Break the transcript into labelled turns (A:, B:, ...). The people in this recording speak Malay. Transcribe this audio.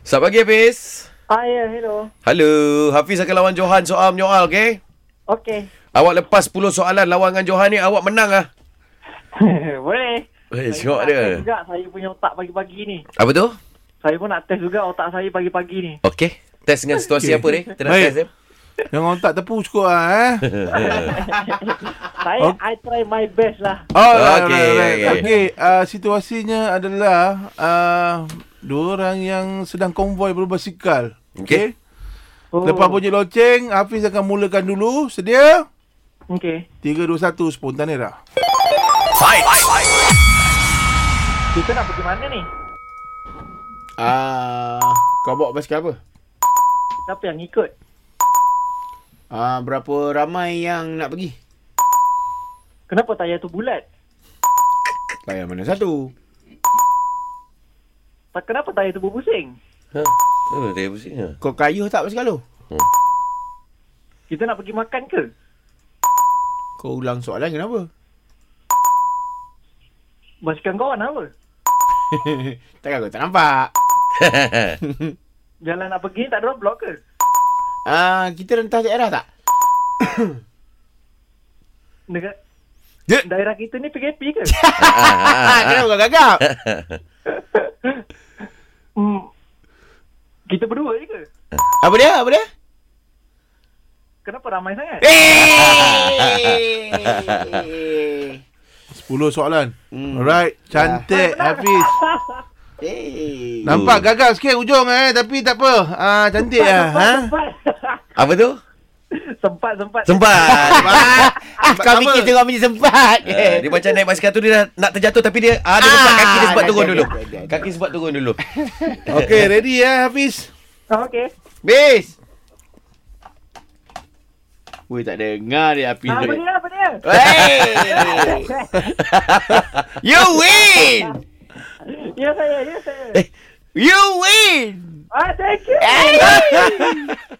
A: Selamat pagi Hafiz.
B: Ah, ya, hello.
A: Hello. Hafiz akan lawan Johan soal menyoal, okey?
B: Okey.
A: Awak lepas 10 soalan lawan dengan Johan ni, awak menang ah.
B: Boleh.
A: Eh,
B: Saya
A: syok
B: nak test
A: dia.
B: Juga saya punya otak pagi-pagi ni.
A: Apa tu?
B: Saya pun nak test juga otak saya pagi-pagi ni.
A: Okey. Test dengan situasi
C: Okey.
A: apa ni? Kita nak
C: Baik.
A: test eh.
C: Jangan otak tepu cukup lah eh.
B: Saya,
C: Oh.
B: I try my best lah.
C: Oh,
A: Okey,
C: right, right, right.
A: okey.
C: Okey, uh, situasinya adalah uh, dua orang yang sedang konvoi berbasikal. Okey.
B: Oh.
C: Lepas bunyi loceng, Hafiz akan mulakan dulu. Sedia?
B: Okey.
C: 3 2 1 spontanera.
B: Kita nak pergi mana ni?
D: Ah, kau bawa basikal apa?
B: Siapa yang ikut?
D: Ah, berapa ramai yang nak pergi?
B: Kenapa tayar tu bulat?
D: Layan mana satu?
B: Ta- Kenapa tayar tu berpusing?
A: Ha. Oh, dia pusing ah.
D: Kau kayuh tak basikal lu?
B: Kita nak pergi makan ke?
D: Kau ulang soalan kenapa?
B: Basikal kawan apa?
D: Takkan kau tak nampak?
B: Jalan nak pergi ni tak ada blok ke?
D: Ah, kita rentas daerah tak?
B: Dekat
D: Dek.
B: daerah kita ni PKP ke?
D: Ah, kenapa kau gagap?
B: hmm. Kita berdua je ke?
D: apa dia? Apa dia?
B: Kenapa ramai sangat?
D: Eh!
C: 10 soalan.
D: Hmm.
C: Alright, cantik Hafiz.
D: Eh!
A: Hmm.
C: Nampak gagal sikit ujung eh tapi tak apa. Ah uh, cantik ah. Ha?
B: Sempat,
A: Apa tu?
B: sempat, sempat.
A: Sempat.
D: Ah, kau fikir tengok punya sempat.
A: Ah, dia macam naik basikal tu dia dah nak terjatuh tapi dia ah, dia
D: Ah,
A: lepas kaki dia sebab
D: dah,
A: turun
D: dah,
A: dulu.
D: dah, dah, dah.
A: Kaki sebab turun dulu.
C: Okey, ready eh Hafiz.
B: Ah, Okey.
D: Bis! Weh, tak dengar dia api.
B: Apa dia? Apa dia?
D: Hey! You win!
B: Ya saya, ya saya.
D: You win!
B: Ah, thank you.